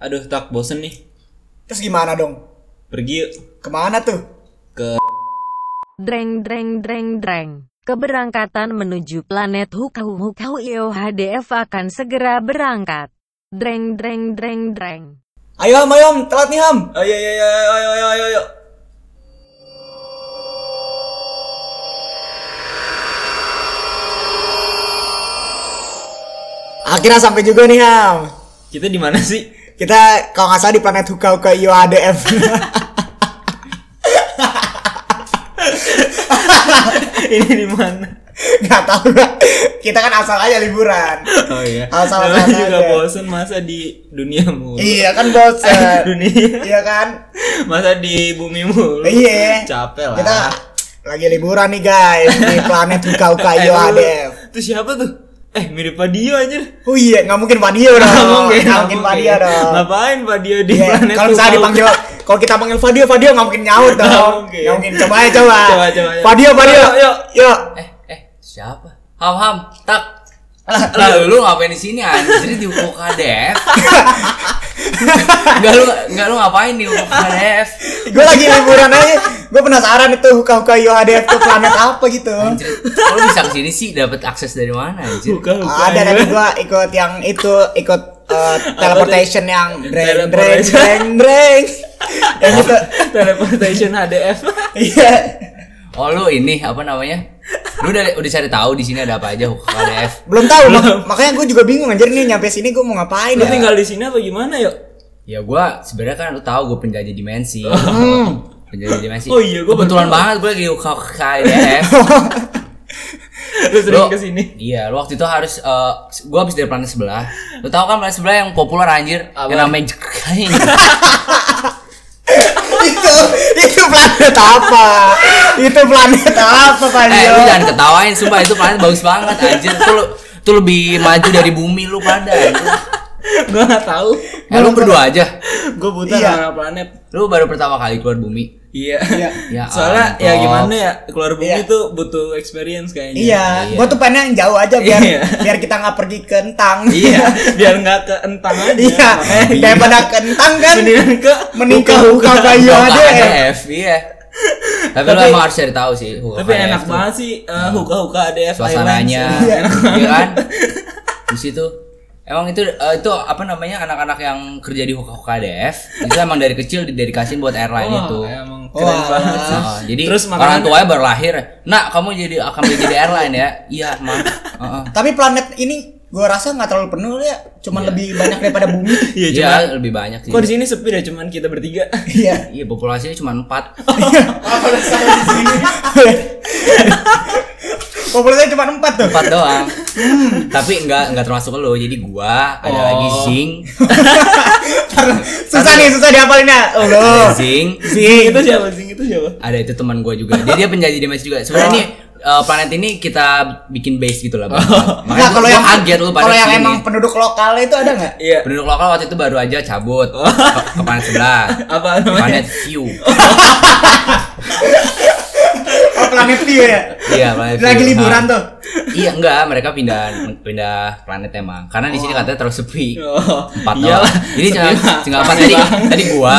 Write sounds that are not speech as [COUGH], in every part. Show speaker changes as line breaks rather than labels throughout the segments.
Aduh, tak bosen nih.
Terus gimana dong?
Pergi yuk.
Kemana tuh?
Dreng dreng dreng dreng. Keberangkatan menuju planet Hukau Hukau IOHDF akan segera berangkat. Dreng dreng dreng dreng.
Ayo Ham, ayo Ham, telat nih Ham.
Ayo, ayo, iya, ayo, ayo, ayo, ayo, ayo.
Akhirnya sampai juga nih Ham.
Kita di mana sih? [LAUGHS]
Kita kalau nggak salah di planet Hukau ke IOADF. [LAUGHS]
Ini di
[LAUGHS]
mana?
Gak tau Kita kan asal aja liburan.
Oh iya.
Ah, salah,
Namanya
salah
juga
aja.
bosen masa di dunia mulu.
iya kan bosen.
dunia.
iya kan?
Masa di bumi mulu.
Iya.
Capek lah.
Kita lagi liburan nih guys di planet Hukau ke
[LAUGHS] Eh,
IOADF.
lu- Tuh siapa tuh? Eh, mirip Padio anjir.
Oh iya, nggak mungkin Fadio
[LAUGHS]
dong.
Nggak mungkin,
Nggak
nggak
mungkin
mungkin.
Fadio dong.
Ngapain Padio di
Iya,
planet
kalau misalnya
Hukau? [LAUGHS]
dipanggil kalau kita panggil Fadio, Fadio nggak mungkin nyaut
Nggak
dong. Nggak
mungkin.
mungkin. Coba aja coba.
Coba, coba, coba.
Fadio, Fadio.
Yuk, yuk.
yuk.
Eh, eh, siapa? Ham, ham, tak.
iya.
Lah, lu ngapain di sini anjir di UKU KDF? Enggak lu enggak lu ngapain di UKU KDF?
Gue lagi liburan aja. Gue penasaran itu huka-huka IOHDF ke planet apa gitu.
Anjir, kok lu bisa ke sini sih dapat akses dari mana anjir?
Hukau, Hukau.
Ada tadi gue ikut yang itu ikut eh, teleportation yang breng breng
Teleportation.
breng breng. Yang itu
[LAUGHS] Teleportation HDF.
iya.
Oh, lu ini apa namanya? Lu udah udah cari tahu di sini ada apa aja UKU KDF?
Belum tahu mak- makanya gue juga bingung anjir nih nyampe sini gue mau ngapain
Lu [LAUGHS]
ya.
tinggal di sini apa gimana yuk?
Ya gua sebenarnya kan lu tahu gua penjajah dimensi. penjajah dimensi.
Oh iya, gua
kebetulan
baru tahu.
banget gua lagi di UKU KDF.
Lu sering
Lu-
kesini? [LAUGHS]
Iya, lu waktu itu harus eh, gua habis dari planet sebelah. Lu tahu kan planet sebelah yang populer anjir,
Apa?
yang
[LAUGHS]
namanya Jekain.
itu itu planet apa? Itu planet apa
eh,
Fadio?
lu jangan ketawain, sumpah itu planet bagus banget anjir. Tuh lu tuh lebih maju dari bumi lu pada.
Gua gak tahu.
Eh, lu berdua aja.
Gue buta
Iya.
sama planet.
Lu baru pertama kali keluar bumi.
Iya.
Ya
Soalnya
ampun.
ya gimana ya keluar bumi
Iya.
tuh butuh experience kayaknya.
Iya, gua tuh pengen yang jauh aja biar
Iya.
biar kita nggak pergi ke entang.
Iya, [LAUGHS] biar nggak ke entang aja.
Iya,
Makanya
daripada ke entang kan
Mendingan ke
menikah
buka-buka.
buka kayu
Bukan
aja. ya.
ADF, iya. Tapi, lu
Tapi-
emang harus cari tahu sih. Hukum
Tapi
ADF
enak
tuh.
banget sih eh, huka-huka ADF
Hmm. suasananya
Islands. Iya. Enak
ya
banget.
kan [LAUGHS] di situ emang itu eh, itu apa namanya anak-anak yang kerja di Hoka Hoka DF itu emang dari kecil didedikasiin buat airline
Wah,
itu
Oh, iya, Emang keren
Wah.
banget sih.
gitu. Oh, jadi
terus
orang
makanya
tuanya baru lahir nak kamu jadi akan jadi airline ya [LAUGHS] iya emang Heeh.
Tapi planet ini gua rasa nggak terlalu penuh ya, cuman lebih banyak daripada bumi.
Iya,
[LAUGHS] Iya,
cuma
lebih banyak sih
kok di sini sepi deh cuman kita
[LAUGHS]
bertiga.
Iya.
iya populasinya cuma empat
[LAUGHS] Populasinya cuma empat tuh.
empat doang tapi nggak nggak termasuk lo jadi gua ada
Hmm. Oh.
lagi Zing
[LAUGHS] Susah nih, susah dihapalinnya. Oh,
ada
loh.
Zing
Zing itu siapa? Zing itu siapa?
ada itu teman gue juga dia dia penjajah dimensi juga
Oh.
sebenarnya nih eh, planet ini kita bikin base gitu lah Bang. makanya
Nah, kalau
gua
yang
kaget lu pada
kalau yang
kesini.
emang penduduk lokal itu ada nggak?
Iya.
penduduk lokal waktu itu baru aja cabut ke, ke planet
[LAUGHS]
sebelah
Apa namanya? [LAUGHS]
planet view
Oh, planet view ya.
iya planet view
Lagi liburan tuh.
iya enggak mereka pindah pindah planet emang karena di sini katanya terlalu sepi
Oh,
empat
Iya
iyalah.
doang jadi
Sepi
tinggal
banget.
tinggal empat tadi tadi
[LAUGHS]
gua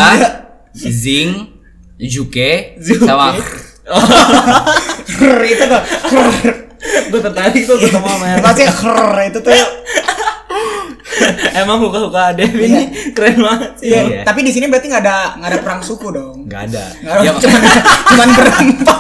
si Zing Juke
Zuki.
sama
Krrr, itu tuh. Krrr.
gue tertarik tuh ketemu sama yang-
[LAUGHS] Pasti krrr, itu tuh.
Iya.
Emang huka-huka ADF ini keren banget sih.
Iya.
Iya.
Tapi di sini berarti nggak ada nggak ada perang suku dong. [LAUGHS]
nggak ada
Nggak ada,
Ya,
cuman cuman berempat.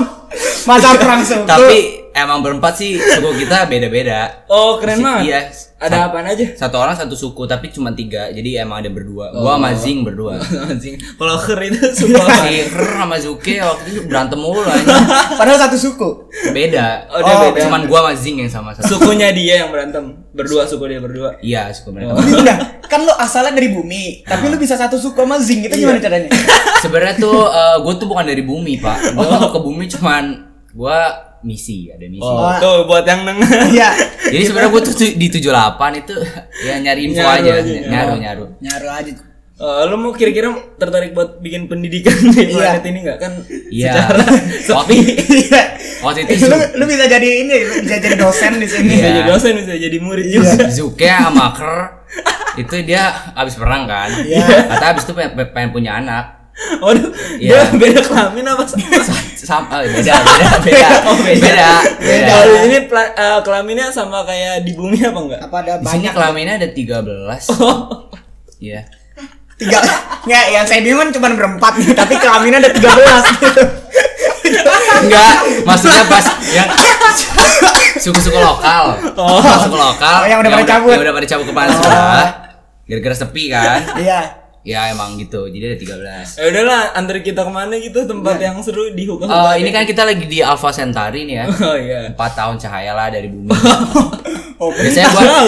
Masa perang suku.
tapi emang berempat sih suku kita beda-beda
Oh, keren
Si-
banget.
iya.
Ada apaan aja? [LAUGHS]
satu orang satu suku tapi cuma tiga jadi emang ada berdua
Oh.
gua sama Zing
[LAUGHS]
berdua
Anjing. Kalau ker itu
[LAUGHS]
suka
si Rer sama Zuke waktu itu berantem mulu aja
padahal satu suku.
beda
Oh, dia beda.
cuman gua sama Zing yang sama satu
sukunya dia yang berantem. Berdua suku dia berdua.
iya suku
Oh.
mereka
Udah, kan lu asalnya dari bumi, tapi lu bisa satu suku sama Zing. Itu gimana caranya?
sebenarnya tuh eh, gua tuh bukan dari bumi pak gua ke bumi cuman gua misi ada misi
Oh, tuh buat yang denger.
[LAUGHS] Iya.
jadi sebenarnya gua tuh tu- di 78 itu ya nyari info
Nyaru
aja
aja,
nyaru
nyaru.
nyaru
Nyaru aja.
Eh, lo mau kira-kira tertarik buat bikin pendidikan [LAUGHS] di
Iya.
planet ini nggak kan?
iya
[LAUGHS] Secara
waktu
Iya.
waktu itu
Lu, lu bisa jadi ini, lu bisa jadi dosen di sini.
bisa
Iya.
jadi dosen bisa jadi murid
Iya.
juga.
Zuke sama Ker itu dia abis perang kan
Iya.
kata abis itu pengen, pengen punya anak
[LAUGHS] Waduh,
Iya.
dia beda kelamin apa? sama?
sama eh,
[LAUGHS]
beda beda beda
Oh, beda.
beda,
[LAUGHS]
beda.
Kalau di sini pla- eh, kelaminnya sama kayak di bumi apa Oh, enggak?
Apa ada
di sini
banyak Oh.
kelaminnya ada 13 Iya.
tiga? Nggak, yang saya bingung kan cuma berempat nih, tapi kelaminnya ada tiga belas.
Enggak, maksudnya pas yang suku-suku lokal.
Oh.
Suku lokal.
Oh, yang udah pada cabut. Oh.
Yang udah pada cabut kepala sekolah. Gara-gara sepi kan.
[LAUGHS] Iya.
Ya emang gitu. Jadi ada 13.
Ya udahlah, antar kita kemana gitu tempat yang seru di hukum.
Eh ini kan kita lagi di Alpha Centauri
[LAUGHS]
nih ya.
[LAUGHS] Oh iya.
4 tahun cahaya lah dari bumi.
Oh, Eh,
Biasanya gua
Wow.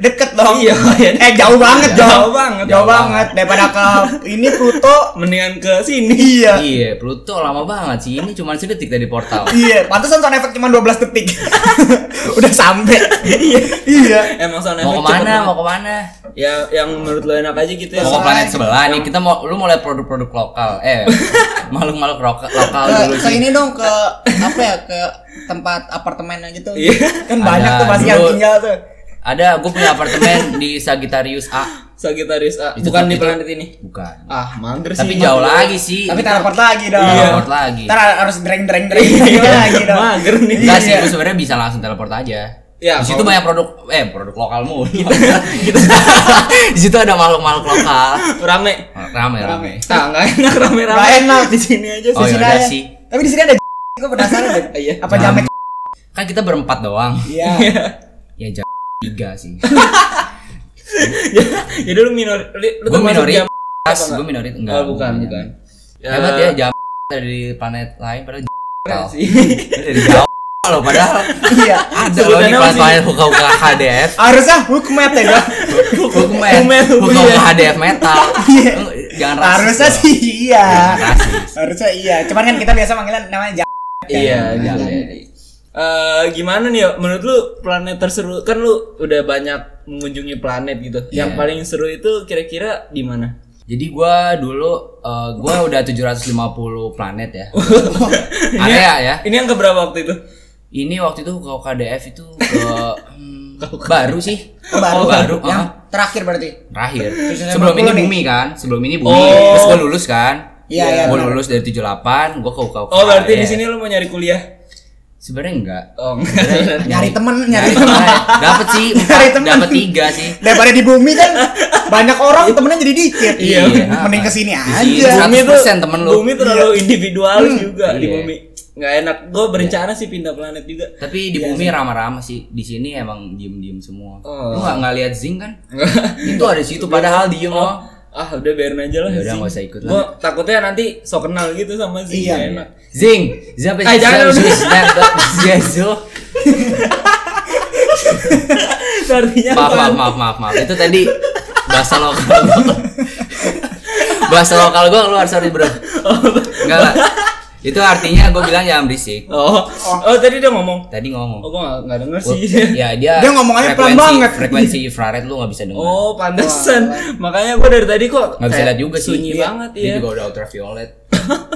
deket dong.
Iya, iya.
Eh jauh banget,
Jauh
jauh.
banget,
jauh,
jauh
banget. Daripada ke ini Pluto.
Mendingan ke sini. [LAUGHS]
Iya.
Iya, Pluto lama banget sih. Ini cuma sedetik dari portal.
Iya, pantesan sound effect cuma 12 detik. [LAUGHS] Udah sampai. iya. Iya.
Emang sound effect
Mau
cepet
kemana?
banget.
Mau kemana?
Ya yang menurut lo enak aja gitu ya.
Mau ke planet sebelah nih. Kita mau lu mau lihat produk-produk lokal. Eh, makhluk-makhluk lokal, lokal
Nah,
dulu
ke, ke
sih.
ini dong ke apa ya ke tempat apartemennya gitu
Iya.
Kan banyak
Ada
tuh pasti yang
dulu.
tinggal tuh.
Ada, gue punya apartemen di Sagittarius A.
Sagittarius A.
Itu
Bukan di
itu-
planet ini.
Bukan.
Ah, mangger
[LAUGHS]
Tapi jauh lagi sih.
Tapi teleport lagi dong.
Iya. Teleport lagi.
Ntar harus dreng-dreng dreng lagi dong.
Iya, Mager nih.
Enggak sih, gue sebenarnya bisa langsung teleport aja.
Ya,
di situ
kalau-
banyak produk eh produk lokalmu. [LAUGHS] di situ ada makhluk-makhluk lokal.
Rame.
Rame rame.
Nah, enggak enak rame-rame.
Nggak enak.
di sini aja
Oh
sih.
ya udah sih. Nah.
Tapi di sini ada [LAUGHS] gue penasaran deh.
[LAUGHS] Iya. [LAUGHS]
Apa jamet?
Kan kita berempat doang.
Iya.
Ya jam tiga sih.
Ya dulu minor lu lu
Gue
termasuk
minoritas,
jam-
gue minoritas enggak.
Oh, bukan, bukan. Ya,
Hebat ya jam [LAUGHS] dari planet lain padahal jam
keren
lokal.
sih.
dari jauh [LAUGHS] loh padahal
Iya.
ada loh di
Sebutannya
planet
masih-
planet hukum HDF.
Harusnya hukmet ya dong.
Hukumen,
Hukumen,
hukum
iya.
HDF metal. Jangan rasis.
Harusnya
dong.
sih iya.
Jangan rasis.
Harusnya iya. Cuman kan kita biasa manggilan namanya jamet.
Iya, jamet. Eh, gimana nih, Yo? menurut lu planet terseru kan lu udah banyak mengunjungi planet gitu. Yang
Iya.
paling seru itu kira-kira di mana?
Jadi gua dulu eh, gua udah 750 planet
[LAUGHS]
ya.
Iya.
Area ya.
Eh, Ini yang keberapa waktu itu?
Ini waktu itu kalau KDF itu ke hmm, baru sih. Baru Oh, baru.
yang
ah,
terakhir berarti
terakhir. Sebelum ini
750 nih.
bumi kan? Sebelum ini bumi. Terus gua lulus kan?
Iya, iya,
Gua lulus dari 78, gua ke UKUK.
Oh, berarti
iya.
di sini lu mau nyari kuliah.
sebenarnya enggak.
[LAUGHS] Oh, enggak.
nyari temen nyari temen
teman. Dapat sih,
Nyari
empat,
teman.
dapat tiga sih.
Daripada di bumi kan banyak orang temennya jadi dikit.
Iya.
Mending kesini
sini.
aja.
bumi tuh
100% temen lu.
Bumi terlalu individualis juga di
Iya.
bumi. Nggak enak. Gue berencana sih pindah planet juga.
Tapi di bumi ramah-ramah sih. Di sini emang diem-diem semua.
Oh.
Lu nggak nggak lihat zinc kan? itu ada di situ padahal diem loh.
Ah, udah biarin aja lah.
Ya udah
Zing.
nggak usah ikut
Gua takutnya nanti so kenal gitu sama Zing.
Iya.
Nggak enak.
Zing, siapa
Eh,
sih?
jangan,
Siapa
udah.
sih? Siapa sih? Jesu.
Itu [LAUGHS] Artinya
Maaf,
apa?
maaf, maaf, maaf, maaf. Itu tadi bahasa lokal gua. bahasa lokal gua keluar sorry bro. Enggak lah. Itu artinya gue bilang jangan berisik.
Oh. oh, tadi dia ngomong.
Tadi
Oh,
ngomong.
gue nggak nggak denger sih.
Ya dia.
Dia ngomongannya pelan
frekuensi-
banget.
Frekuensi infrared lu nggak bisa denger.
[LAUGHS] Oh, pantesan. Makanya gue dari tadi kok
nggak bisa
kayak
lihat juga sih.
Sunyi
Iya.
banget
Dia
ya.
juga udah ultraviolet.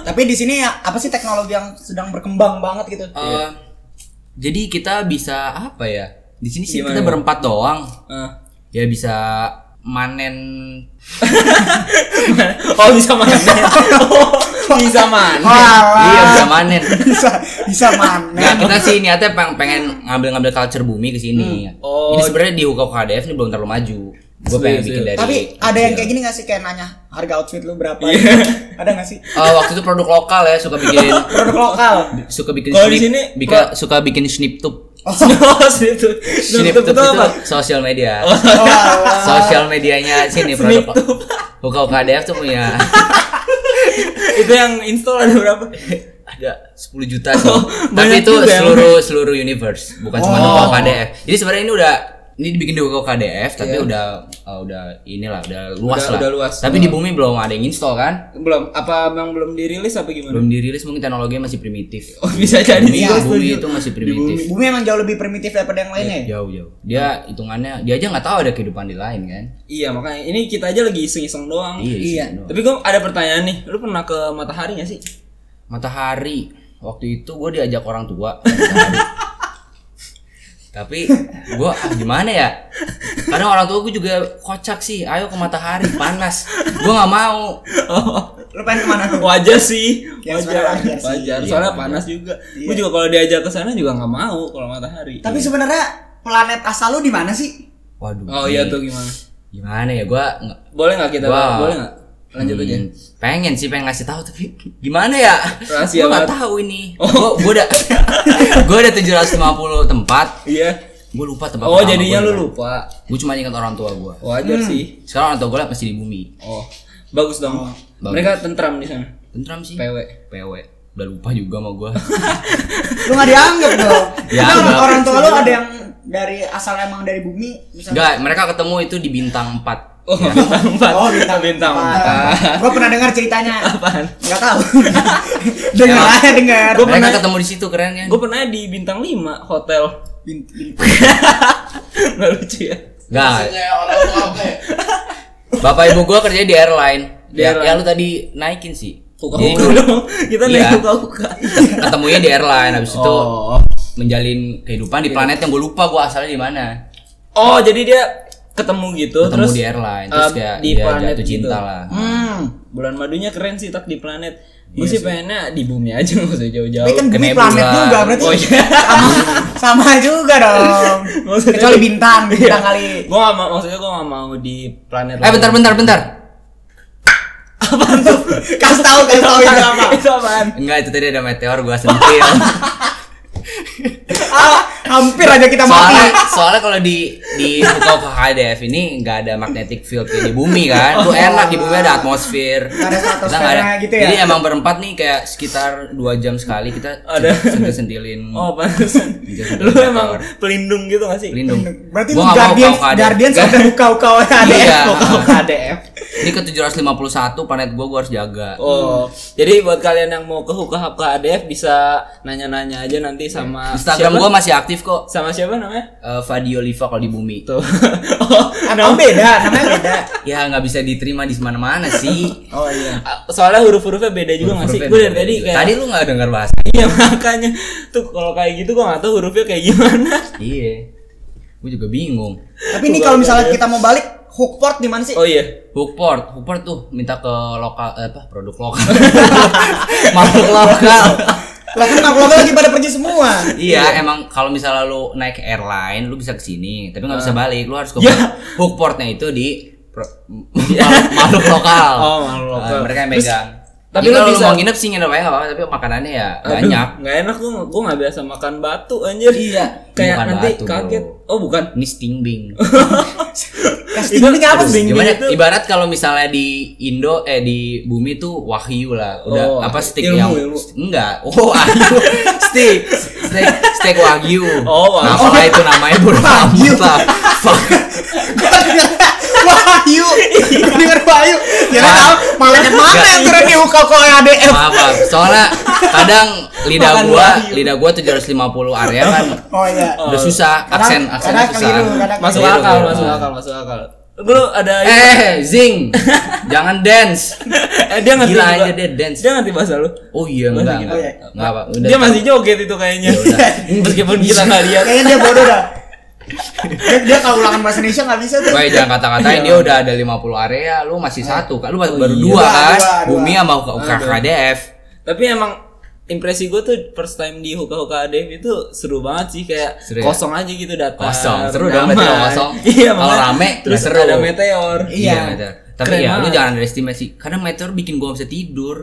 Tapi di sini ya, apa sih teknologi yang sedang berkembang banget gitu?
Eh, Jadi kita bisa apa ya? Di sini sih
Gimana?
kita berempat doang.
Ah.
Ya bisa manen
oh, bisa mana? [LAUGHS] Oh, bisa mana?
Walah.
iya bisa manen
[LAUGHS] bisa bisa
Nah,
mana?
kita sih niatnya peng- pengen ngambil-ngambil culture bumi ke sini.
Oh.
Jadi sebenarnya di Hukau KDF ini belum terlalu maju. Gue
Serius,
pengen bikin
serius.
dari
Tapi ada yang
Iya.
kayak gini gak sih kayak nanya harga outfit lu berapa? ada gak sih?
Eh, waktu itu produk lokal ya suka
[LAUGHS]
bikin
Produk lokal.
suka bikin
Kalau di
snip-
sini,
bika- suka bikin sniptup.
Oh, itu. Oh,
Sniptup itu sosial media. Sosial medianya sini produk.
Sniptup.
Hukau KDF tuh punya
[LAUGHS] itu yang install ada berapa?
ada 10 juta
[LAUGHS]
sih. Tapi
banyak
itu
juga ya. Oh.
seluruh seluruh universe, bukan cuma Hukau KDF. Jadi sebenarnya ini udah ini dibikin di Hukau KDF tapi udah uh, udah inilah udah luas
Iya. Udah-
lah.
udah luas.
Tapi di bumi belum ada yang install kan?
Belum. Apa memang belum dirilis apa gimana?
Belum dirilis mungkin teknologinya masih
[LAUGHS]
primitif.
Oh, bisa jadi iya.
Bumi,
sih.
bumi itu masih primitif.
Bumi emang jauh lebih primitif daripada yang lainnya. ya?
Jauh-jauh. Dia hitungannya dia aja nggak tahu ada kehidupan di lain kan?
Iya, makanya ini kita aja lagi iseng-iseng doang.
Iya.
Tapi gue ada pertanyaan nih, lu pernah ke matahari gak sih? [LAUGHS]
Matahari. Waktu itu gue diajak orang
[LAUGHS]
tua. ke matahari. Tapi gue "Ah, gimana ya? Karena orang tua gue juga kocak sih. Ayo ke matahari panas. Gue nggak mau.
Oh,
Lu pengen kemana?
wajar sih. Iya.
Ya,
Wajar.
sebenarnya wajar sih.
Wajar.
Iya,
Soalnya
wajar.
panas juga. Gue juga kalau diajak ke sana juga nggak mau kalau matahari.
Tapi sebenarnya planet asal lu di mana sih?
Waduh.
Oh iya
ini
tuh gimana?
Gimana ya gue nggak-
Boleh nggak kita?
Wow.
Boleh nggak? Lanjut aja.
Hmm, pengen sih pengen ngasih tahu tapi gimana ya?
Rahasia
Gue
banget.
nggak
Oh.
tahu ini. Gue gue udah [LAUGHS] gue udah 750 tempat.
Iya.
Gue lupa tempat.
Oh jadinya lu lupa.
Gue cuma ingat orang tua gue.
Wajar sih.
Sekarang orang tua gue masih di bumi.
Oh bagus dong.
bagus.
Mereka tentram di sana.
Tentram sih.
PW.
PW. E. Udah lupa juga sama [LAUGHS] gue.
Lu nggak dianggap dong.
[LAUGHS] Ya,
Karena orang,
enggak.
orang tua lu ada yang dari asal emang dari bumi misalnya.
Enggak, mereka ketemu itu di bintang 4
Oh bintang empat.
Oh, bintang
bintang
empat.
empat.
Gua pernah dengar
[LAUGHS]
ceritanya.
Apaan?
Enggak tahu. [LAUGHS] dengar
Emang?
aja dengar.
Gua
mereka
pernah-
ketemu di situ keren kan?
Gue pernah di bintang 5 hotel.
Bin- bin-
Nggak lucu ya?
Enggak,
Kayak orang tua apa ya?
[LAUGHS] bapak ibu gua kerja di airline.
Di
ya,
airline.
yang lu tadi naikin sih. Jadi
Kuka-kuka dong. Kita
Iya.
naik kuka-kuka.
[LAUGHS] ketemunya di airline habis itu
Oh.
menjalin kehidupan di planet yang gue lupa gue asalnya di mana.
Oh, jadi dia ketemu gitu
Ketemu
terus
di airline, terus
eh,
kayak
di
dia
planet
jatuh cinta
gitu.
lah.
Hmm.
Bulan madunya keren sih tak di planet. Gue sih pengennya di bumi aja [LAUGHS] nggak usah
Tapi
jauh-jauh.
kan bumi
nebula.
planet juga berarti.
Oh [LAUGHS] iya.
sama, sama juga dong.
Maksudnya-
Kecuali bintang, bintang kali.
Gue gak mau, maksudnya gue gak mau di planet.
Eh bentar bentar bentar.
Kasih tahu, kasih tahu itu apa.
[LAUGHS] Itu apaan?
Enggak itu tadi ada meteor gue sentil.
[LAUGHS]
[LAUGHS]
Ah, hampir aja kita
soalnya
mati.
soalnya kalau di di Hukum HDF ini nggak ada magnetic field kayak di bumi kan.
Oh.
Lu enak di bumi ada atmosfer.
Nggak ada
Kita nggak ada.
stratosfernya gitu ya.
Jadi emang berempat nih kayak sekitar dua jam sekali kita
Ada.
sentil sentilin.
Oh, pantesan. Lu emang pelindung gitu gak sih?
Lindung.
Berarti
Gua nggak mau
Guardian
kau KDF.
Guardian sudah buka buka
Iya.
ada.
Kok
[LAUGHS]
KDF?
Ini ke 751 planet gua gua harus jaga.
Oh, jadi buat kalian yang mau ke Hukahap ke ADF bisa nanya-nanya aja nanti sama
Iya. Instagram
siapa?
gua masih aktif kok.
sama siapa namanya? [LAUGHS]
Eh, Fadio Liva kalau di bumi.
Tuh. oh,
Nama beda, namanya beda.
Ya nggak bisa diterima di mana-mana sih.
Oh iya.
soalnya huruf-hurufnya beda juga Iya, nggak sih?
Hurufnya
Gue dari
beda
tadi
juga.
kayak
Tadi lu nggak dengar bahasa.
iya makanya tuh kalau kayak gitu gua nggak tahu hurufnya kayak
[LAUGHS]
gimana.
Iya. Gua juga bingung.
Tapi ini kalau misalnya kita mau balik Hookport di mana sih?
Oh iya.
Bookport, Bookport tuh minta ke lokal eh, apa produk lokal. [LAUGHS] Makhluk lokal.
Lah kan makhluk lokal lagi pada pergi semua.
Iya, emang kalau misalnya lu naik airline, lu bisa ke sini, tapi nggak bisa balik. Lu harus ke
Ah. Ya.
Bookportnya itu di pro- [LAUGHS] makhluk lokal.
Oh, makhluk lokal.
Eh, mereka yang
Terus,
megang.
tapi
tapi
lu
kalau lu
bisa-
mau nginep sih nginep aja nggak apa-apa, tapi makanannya ya banyak.
Nggak enak tuh, gua nggak biasa makan batu anjir. Iya. Kayak
Bukan
nanti
batu,
kaget.
bro.
Oh bukan.
Ini stingbing.
Casting ini apa sih?
Stingbing
Gimana?
itu-
Ibarat kalau misalnya di Indo eh di bumi tuh wahyu lah, udah
Oh,
apa stick
ilmu,
yang
ilmu.
enggak. [LAUGHS] Oh, wahyu. stick. Steak, steak wagyu.
Oh, wagyu.
Apalah itu namanya
[LAUGHS]
bulu rambut lah. Fuck.
[LAUGHS] Wahyu, denger Wahyu, ya kan malah mana yang keren nih kau kau ADF?
Maaf, maaf. Soalnya kadang lidah
Makan
gua,
wagyu.
lidah gua 750 area kan
Oh iya.
udah susah aksen
Kadang-
aksen
kadang
susah.
keliru, kadang
Masuk
Keliru,
akal,
keliru. Oh.
masuk akal, masuk akal. Lu ada
Ah. Eh, zing. Jangan dance.
[LAUGHS] eh, dia ngerti
Gila
juga.
aja dia dance.
Dia ngerti bahasa lu.
Oh iya, enggak.
gila.
Enggak, enggak apa. Udah. Ya
dia masih joget itu kayaknya. [LAUGHS] Meskipun kita nggak lihat.
Kayaknya dia bodoh dah. Dia, dia kalau ulangan bahasa Indonesia nggak bisa tuh.
Wah,
Iya.
ya jangan kata-katain dia udah ada 50 area, lu masih satu kan. Lu baru baru
Eh. iya.
dua
Dua, dua,
kan.
dua.
Bumi sama KKDF.
Tapi emang impresi gue tuh first time di Hoka Hoka Dev itu seru banget sih kayak
Seru ya?
kosong aja gitu datang.
Kosong, seru dong berarti
nyaman.
kalau kosong.
[LAUGHS] Iya,
Kalau
makanya.
rame,
terus
nggak seru.
ada meteor.
Iya.
meteor. Tapi
Keren
ya lu
banget.
jangan underestimasi karena meteor bikin gua nggak bisa tidur.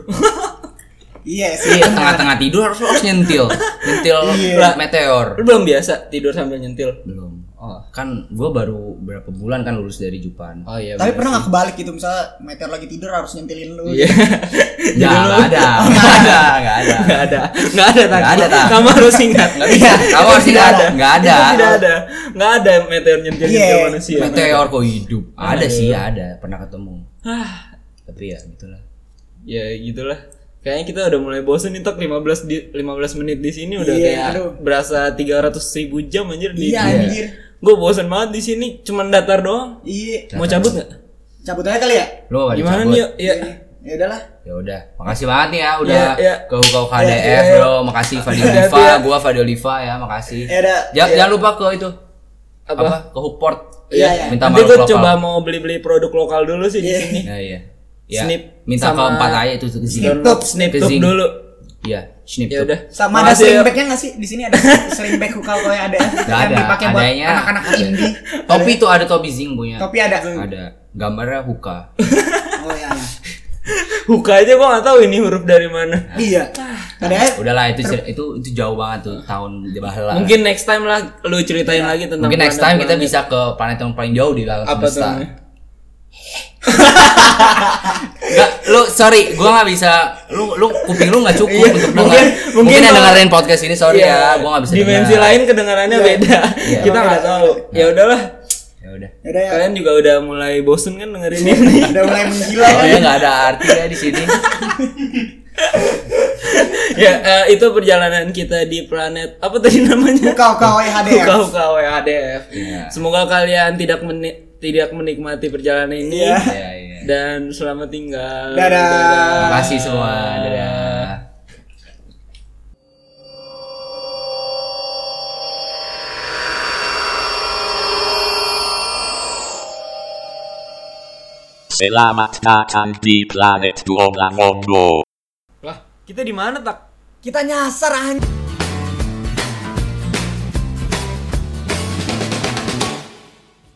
Iya sih.
Iya, tengah-tengah tidur harus lu harus nyentil. Nyentil
Iya.
meteor.
Lu belum biasa tidur sambil nyentil.
Belum. Oh, kan gua baru berapa bulan kan lulus dari Jupan.
Oh iya.
Tapi pernah nggak kebalik gitu misalnya meteor lagi tidur harus nyentilin lu.
Iya. Jadi
[LAUGHS] Nggak,
lu-
nggak ada. Enggak ada, enggak ada.
iya. Nggak ada. Iya. Enggak ada.
Nggak
Nggak
ada, Tak.
Kamu harus ingat. Enggak
bisa. [LAUGHS] Kamu harus ingat. Nggak ada.
Iya, Tidak ada. Enggak ada meteor nyentil
Iya.
nyentil manusia.
Meteor kok hidup. Ada sih, ada. Pernah ketemu.
Ah,
Tapi ya gitulah.
ya gitulah. Kayaknya kita udah mulai bosen nih tak 15 di 15 menit di sini udah
Iya,
kayak
aduh.
berasa 300 ribu jam anjir di
Iya anjir.
Gue bosen banget di sini, cuman datar doang.
Iya.
Mau cabut nggak?
Cabut aja kali ya.
Lu gak
Gimana nih? yuk? Ya.
Iya.
Ya udahlah.
ya udah makasih banget nih ya udah
Iya, iya.
ke Hukau KDF
Iya, iya.
bro makasih Fadil
Hati-hati
Diva
ya.
gua Fadil Diva ya makasih
Ya udah.
jangan, jangan lupa ke itu
Iya. Apa?
apa ke Hooport
Iya, iya.
minta
Nanti
makhluk
gue
lokal
coba mau beli-beli produk lokal dulu sih di sini.
Nah, iya ya,
Snip
minta
sama-
ke empat aja itu ke Zing.
Download
Snip-tup.
Snip
Ke
tup
Zing.
dulu.
iya snip
Ya udah.
Sama
Makasih ya.
ada sling bag-nya nggak sih? Di sini ada sling bag hukau kayak ada
Nggak
yang
ada,
dipakai buat
adanya.
anak-anak indie.
topi tuh ada topi zing punya
Topi ada.
ada gambarnya huka
Oh iya. iya.
Huka aja gue gak tahu ini huruf dari mana.
Iya. Padahal
udahlah itu cer- itu itu jauh banget tuh tahun di bahla
Mungkin next time lah lu ceritain lagi tentang
Iya. Mungkin next time kita
planet-planet.
bisa ke planet yang paling jauh di alam
apa tuh?
semesta.
namanya?
[LAUGHS] Nggak, lu sorry, gua nggak bisa. Lu lu kuping lu nggak cukup
Iya,
untuk
mungkin-
dengar.
mungkin
Mungkin, yang
kalau-
dengerin podcast ini sorry
Iya,
ya, gua nggak bisa.
Dimensi
dengar. Iya.
lain kedengarannya beda. kita nggak tahu. Ya udahlah.
Ya udah.
Yaudah ya.
Kalian juga udah mulai bosen kan dengerin ini.
[LAUGHS] Udah mulai menggila
Oh,
kan.
ya nggak ada artinya di sini.
ya eh, itu perjalanan kita di planet apa tadi namanya?
Hukau kau HDR.
Kau kau HDF.
Iya.
Semoga kalian tidak meni- tidak menikmati perjalanan ini
Iya.
Iya, iya.
dan selamat tinggal.
Dadah.
Makasih semua. Dadah.
Selamat datang di planet Duolangondo.
Lah, kita di mana tak?
Kita nyasar anjing.